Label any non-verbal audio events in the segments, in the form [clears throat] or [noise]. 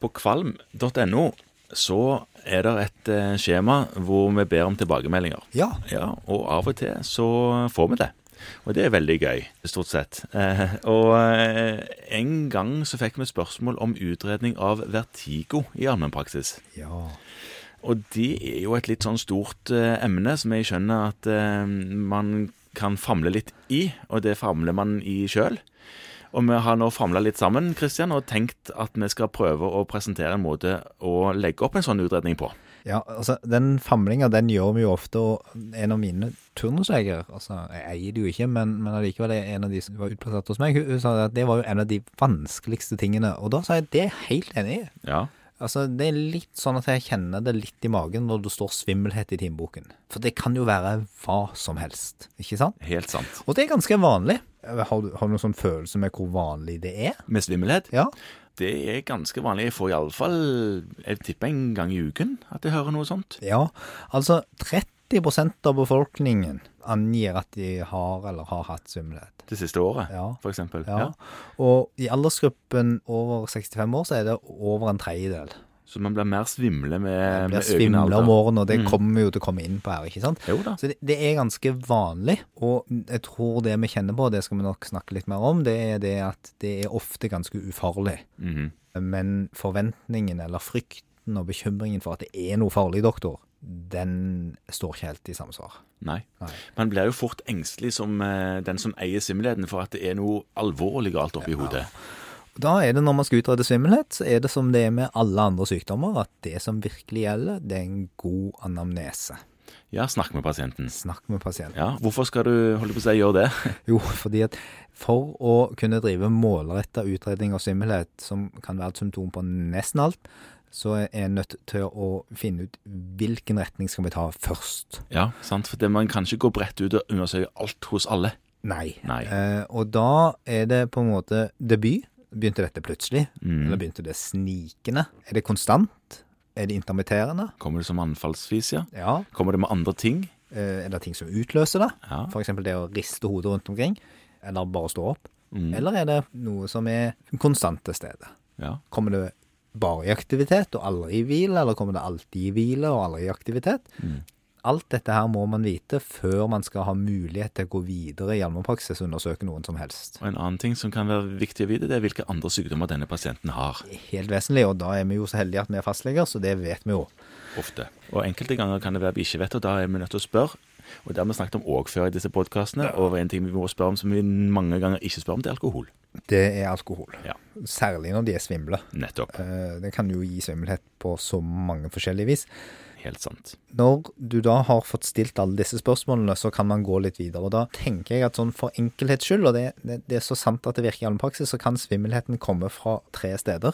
På kvalm.no så er det et eh, skjema hvor vi ber om tilbakemeldinger. Ja. Ja, og av og til så får vi det. Og det er veldig gøy, stort sett. Eh, og eh, en gang så fikk vi spørsmål om utredning av vertigo i allmennpraksis. ja. Og det er jo et litt sånn stort eh, emne som jeg skjønner at eh, man kan famle litt i, og det famler man i sjøl. Og vi har nå famla litt sammen Christian, og tenkt at vi skal prøve å presentere en måte å legge opp en sånn utredning på. Ja, altså Den famlinga den gjør vi jo ofte, og en av mine turnusleger altså, Jeg eier det jo ikke, men, men allikevel er en av de som var utplassert hos meg, hun, hun sa at det var jo en av de vanskeligste tingene. Og da sa jeg det er jeg helt enig i. Ja, Altså, Det er litt sånn at jeg kjenner det litt i magen når det står svimmelhet i timeboken. For det kan jo være hva som helst, ikke sant? helt sant. Og det er ganske vanlig. Har du, har du noen sånn følelse med hvor vanlig det er? Med svimmelhet? Ja. Det er ganske vanlig. Jeg får iallfall Jeg tipper en gang i uken at jeg hører noe sånt. Ja, altså 30 av befolkningen angir at de har eller har hatt svimmelhet. Det siste året, Ja. for eksempel. Ja. Og i aldersgruppen over 65 år så er det over en tredjedel. Så man blir mer svimle Det med, blir med økende svimle alder. Mm. om årene, og det kommer vi jo til å komme inn på her, ikke sant? Jo da. Så det, det er ganske vanlig, og jeg tror det vi kjenner på, det skal vi nok snakke litt mer om, det er det at det er ofte ganske ufarlig. Mhm. Men forventningen eller frykten og bekymringen for at det er noe farlig, doktor, den står ikke helt i samsvar. Nei. Nei. Man blir jo fort engstelig som eh, den som eier svimmelheten for at det er noe alvorlig galt oppi hodet. Da er det når man skal utrede svimmelhet, så er det som det er med alle andre sykdommer, at det som virkelig gjelder, det er en god anamnese. Ja, snakk med pasienten. Snakk med pasienten. Mm. Ja, hvorfor skal du holde på å si gjøre det? Jo, fordi at for å kunne drive målretta utredning av svimmelhet, som kan være et symptom på nesten alt, så er en nødt til å finne ut hvilken retning skal vi ta først. Ja, sant, for det, man kan ikke gå bredt ut og undersøke alt hos alle. Nei. Nei. Eh, og da er det på en måte debut. Begynte dette plutselig? Mm. Eller begynte det snikende? Er det konstant? Er det intermitterende? Kommer det som anfallsvis, ja? Ja. Kommer det med andre ting? Eh, er det ting som utløser det? Ja. F.eks. det å riste hodet rundt omkring? Eller bare stå opp? Mm. Eller er det noe som er konstant til stede? ja. Kommer det bare i aktivitet og aldri i hvile, eller kommer det alltid i hvile og aldri i aktivitet? Alt dette her må man vite før man skal ha mulighet til å gå videre i allmennpraksis og undersøke noen som helst. Og en annen ting som kan være viktig å vite, det er hvilke andre sykdommer denne pasienten har. Helt vesentlig, og da er vi jo så heldige at vi er fastleger, så det vet vi jo. Ofte. Og enkelte ganger kan det være vi ikke vet, og da er vi nødt til å spørre. Og det har vi snakket om òg før i disse podkastene, og en ting vi må spørre om som vi mange ganger ikke spør om, det er alkohol. Det er alkohol. Ja, Særlig når de er svimle. nettopp. Eh, Det kan jo gi svimmelhet på så mange forskjellige vis. Helt sant. Når du da har fått stilt alle disse spørsmålene, så kan man gå litt videre. Og da tenker jeg at sånn for enkelhets skyld, og det, det, det er så sant at det virker i allmennpraksis, så kan svimmelheten komme fra tre steder.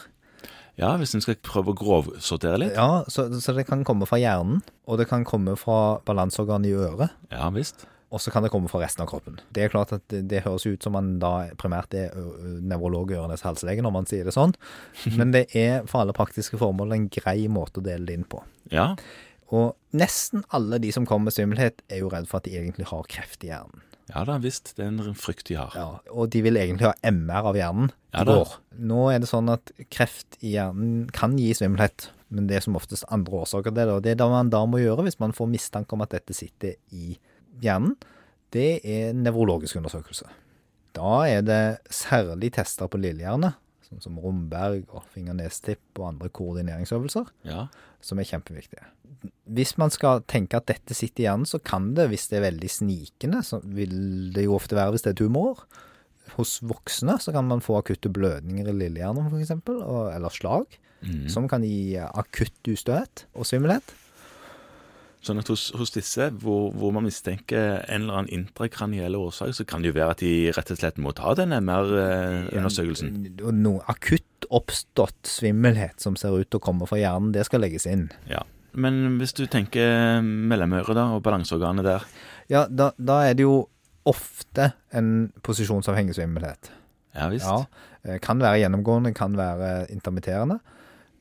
Ja, hvis en skal prøve å grovsortere litt. Ja, så, så det kan komme fra hjernen, og det kan komme fra balanseorganet i øret. Ja visst. Og så kan det komme fra resten av kroppen. Det er klart at det, det høres ut som man da primært er ø, ø, nevrolog og ørenes halslege når man sier det sånn, men det er for alle praktiske formål en grei måte å dele det inn på. Ja. Og nesten alle de som kommer med svimmelhet, er jo redd for at de egentlig har kreft i hjernen. ja da visst. Det er en frykt de har. Ja, og de vil egentlig ha MR av hjernen. Ja Det da. går. Nå er det sånn at kreft i hjernen kan gi svimmelhet, men det er som oftest andre årsaker til det. Og det er det man da må gjøre hvis man får mistanke om at dette sitter i hjernen, det er en nevrologisk undersøkelse. Da er det særlig tester på lillehjerne, sånn som romberg og fingernestipp og andre koordineringsøvelser Ja. som er kjempeviktige. Hvis man skal tenke at dette sitter i hjernen, så kan det, hvis det er veldig snikende, så vil det jo ofte være hvis det er tumor. Hos voksne så kan man få akutte blødninger i lillehjernen f.eks., eller slag, Mm. som kan gi akutt ustøhet og svimmelhet. Sånn at hos, hos disse, hvor, hvor man mistenker en eller annen intrakraniell årsak, så kan det jo være at de rett og slett må ta den eh, MR-undersøkelsen. Og noe akutt oppstått svimmelhet som ser ut til å komme fra hjernen, det skal legges inn. Ja. Men hvis du tenker eh, mellomøret da, og balanseorganet der, Ja, da, da er det jo ofte en posisjonsavhengig svimmelhet. ja visst. Ja, eh, kan være gjennomgående, kan være intermitterende.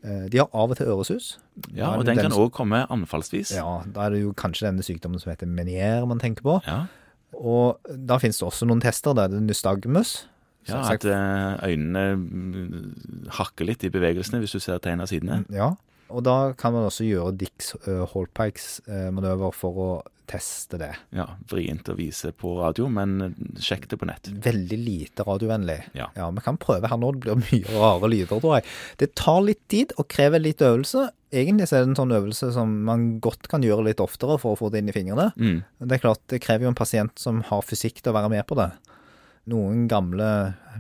Eh, De har av og til øresus. Ja, Da er og det den kan som- òg komme anfallsvis. Ja. Ja, da er det jo kanskje denne sykdommen som heter menier man tenker på. Og da finnes det også noen tester der det er nystagmus, Ja, Selvsagt. At eh, øynene mm, hakker litt i bevegelsene hvis du ser tegn av sidene. Ja, og da kan man også gjøre Dicks uh, Holpikes eh, manøver for å teste det. Ja, Vrient å vise på radio, men eh, sjekk det på nett. Veldig lite radiovennlig. Ja. vi kan prøve her nå. Det blir [laughs] mye rare lyder, tror jeg. Det tar litt tid og krever litt øvelse. Egentlig så er det en sånn øvelse som man godt kan gjøre litt oftere for å få det inn i fingrene. Mm. Det er klart, det krever jo en pasient som har fysikk til å være med på det. Noen gamle,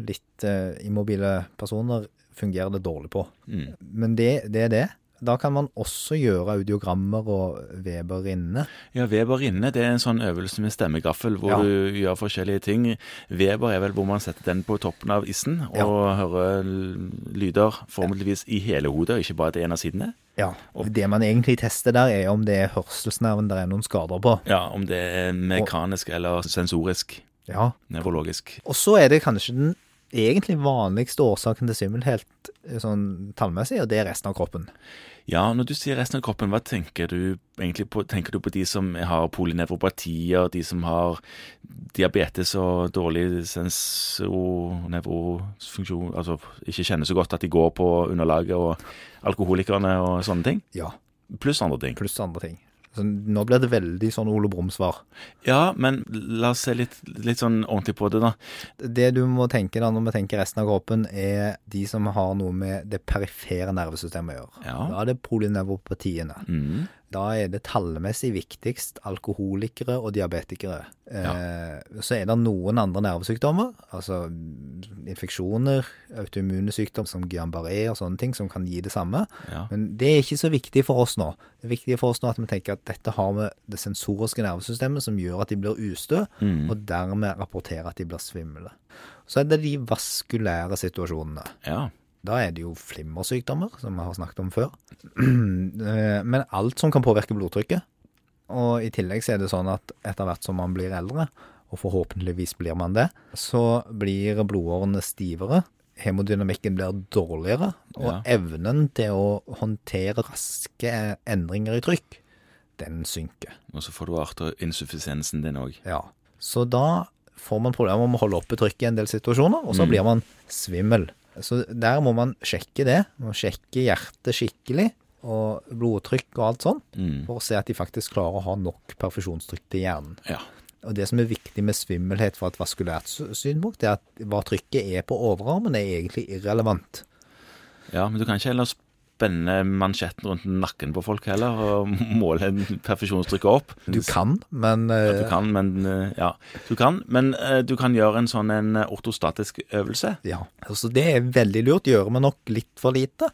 litt eh, immobile personer fungerer det dårlig på. Mm. Men det, det er det. Da kan man også gjøre audiogrammer og veber inne. Ja, Weber inne det er en sånn øvelse med stemmegaffel hvor Ja. du gjør forskjellige ting. Weber er vel hvor man setter den på toppen av issen og hører l- lyder formeligvis i hele hodet, og ikke bare til en av sidene. Ja, og Det man egentlig tester der, er om det er hørselsnerven det er noen skader på. Ja, Om det er mekanisk eller sensorisk, Ja. nevrologisk. Og så er det kanskje den egentlig vanligste årsaken til svimmel helt eh, sånn tallmessig, og det er resten av kroppen. Ja, når du sier resten av kroppen, hva tenker du egentlig på? Tenker du på de som har polynevropatier, de som har diabetes og dårlig sensorovnevrofunksjon, altså ikke kjenner så godt at de går på underlaget, og alkoholikerne og sånne ting? Ja. Pluss andre ting. Pluss andre ting. Så nå blir det veldig sånn Ole Brumm-svar. Ja, men la oss se litt, litt sånn ordentlig på det, da. Det du må tenke da når vi tenker resten av kroppen, er de som har noe med det perifere nervesystemet å gjøre. Ja. Da er det polynevropatiene. Mm. Da er det tallmessig viktigst alkoholikere og diabetikere. Eh, så er det noen andre nervesykdommer, altså mm, infeksjoner, autoimmune sykdom som Guillain-Barré og sånne ting, som kan gi det samme. Ja. Men det er ikke så viktig for oss nå. Det er viktig for oss nå at vi tenker at dette har med det sensoriske nervesystemet som gjør at de blir ustø, Mm. og dermed rapporterer at de blir svimle. Så er det de vaskulære situasjonene. ja. Da er det jo flimmersykdommer, som vi har snakket om før. [clears throat] Eh, Men alt som kan påvirke blodtrykket. Og i tillegg så er det sånn at etter hvert som man blir eldre, og forhåpentligvis blir man det, så blir blodårene stivere. Hemodynamikken blir dårligere, og Ja. evnen til å håndtere raske endringer i trykk, den synker. Og så får du arterinsufficiensen din òg. Ja. Så da får man problemer med å holde oppe trykket i en del situasjoner, og så blir man svimmel. Så der må man sjekke det. Man må sjekke hjertet skikkelig, og blodtrykk og alt sånn, Mm. for å se at de faktisk klarer å ha nok perfusjonstrykk til hjernen. Ja. Og det som er viktig med svimmelhet fra et vaskulært sy- synspunkt, er at hva trykket er på overarmen, er egentlig irrelevant. ja, men du kan ikke heller spenne mansjetten rundt nakken på folk heller, og måle perfusjonstrykket opp. Du kan, men Du eh, kan, men eh, ja. Du kan, men eh, du kan gjøre en sånn en eh, ortostatisk øvelse. Ja, altså det er veldig lurt. Gjør vi nok litt for lite.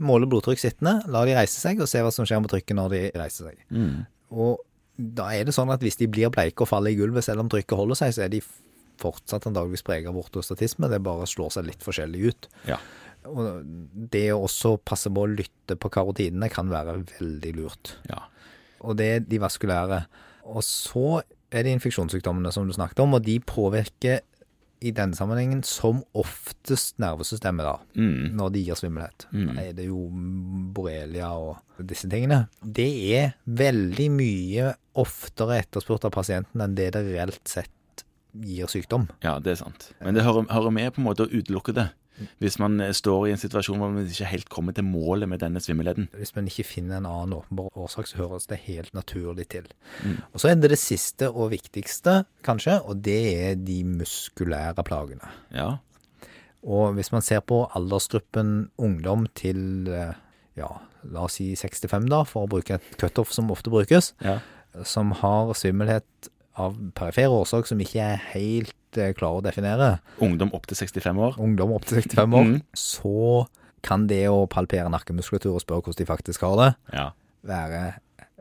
Måle blodtrykk sittende, la de reise seg, og se hva som skjer med trykket når de reiser seg. Og da er det sånn at hvis de blir bleike og faller i gulvet selv om trykket holder seg, så er de fortsatt antageligvis preget av ortostatisme. Det bare slår seg litt forskjellig ut. Ja. Og det å også passe på å lytte på karotidene kan være veldig lurt. ja. Og det er de vaskulære. Og så er det infeksjonssykdommene som du snakket om, og de påvirker i denne sammenhengen som oftest nervesystemet da, Mm. når de gir svimmelhet. Mm. Da er det jo borrelia og disse tingene. Det er veldig mye oftere etterspurt av pasienten enn det det reelt sett gir sykdom. Ja, det er sant. Men det hører, hører med på en måte å utelukke det. Hvis man eh, står i en situasjon hvor man ikke helt kommer til målet med denne svimmelheten. Hvis man ikke finner en annen åpenbar årsak, så høres det helt naturlig til. Mm. Og så er det det siste og viktigste, kanskje, og det er de muskulære plagene. Ja. Og hvis man ser på aldersgruppen ungdom til eh, ja, la oss si 65, da, for å bruke et cutoff som ofte brukes, ja. som har svimmelhet av perifer årsak som ikke er helt eh, klar å definere, Ungdom opp til 65 år. ungdom opp til 65 år, Mm. så kan det å palpere nakkemuskulatur og spørre hvordan de faktisk har det, Ja. være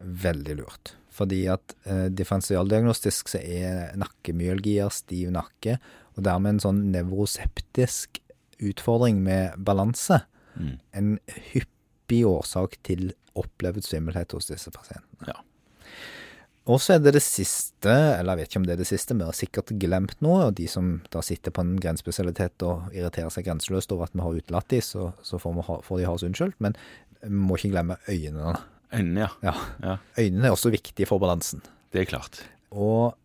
veldig lurt. Fordi at eh, differensialdiagnostisk så er nakkemyalgier stiv nakke, og dermed en sånn nevroseptisk utfordring med balanse, Mm. en hyppig årsak til opplevd svimmelhet hos disse pasientene. Ja. Og så er det det siste, eller jeg vet ikke om det er det siste, vi har sikkert glemt noe, og de som da sitter på en grensespesialitet og irriterer seg grenseløst over at vi har utelatt de, så, så får, vi ha, får de ha oss unnskyldt, men vi må ikke glemme øynene. Øynene, ja. Ja. ja. Øynene er også viktige for balansen. Det er klart. Og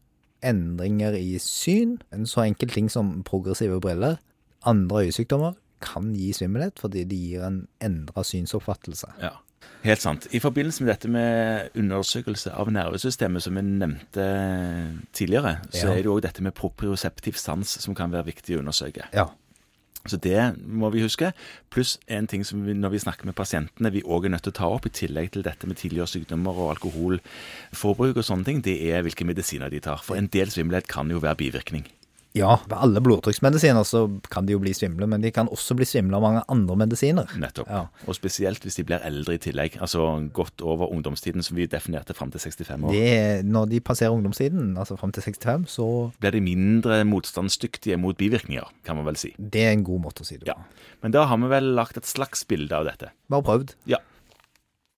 endringer i syn, en så enkel ting som progressive briller, Andre øyesykdommer kan gi svimmelhet fordi de gir en endra synsoppfattelse. Ja. Helt sant. I forbindelse med dette med undersøkelse av nervesystemet, som vi nevnte tidligere, så Ja. er det òg dette med proprioseptiv sans som kan være viktig å undersøke. Ja. Så det må vi huske. Pluss en ting som vi, når vi snakker med pasientene, vi òg er nødt til å ta opp, i tillegg til dette med tidligere sykdommer og alkoholforbruk og sånne ting, det er hvilke medisiner de tar. For en del svimmelhet kan jo være bivirkning. Ja, ved alle blodtrykksmedisiner så kan de jo bli svimle, men de kan også bli svimle av mange andre medisiner. Nettopp. Ja. Og spesielt hvis de blir eldre i tillegg. Altså godt over ungdomstiden, som vi definerte fram til 65 år. Det, er- når de passerer ungdomstiden, altså fram til 65, så Blir de mindre motstandsdyktige mot bivirkninger, kan man vel si. det er en god måte å si det Ja. på. Men da har vi vel lagt et slags bilde av dette. Bare prøvd. Ja.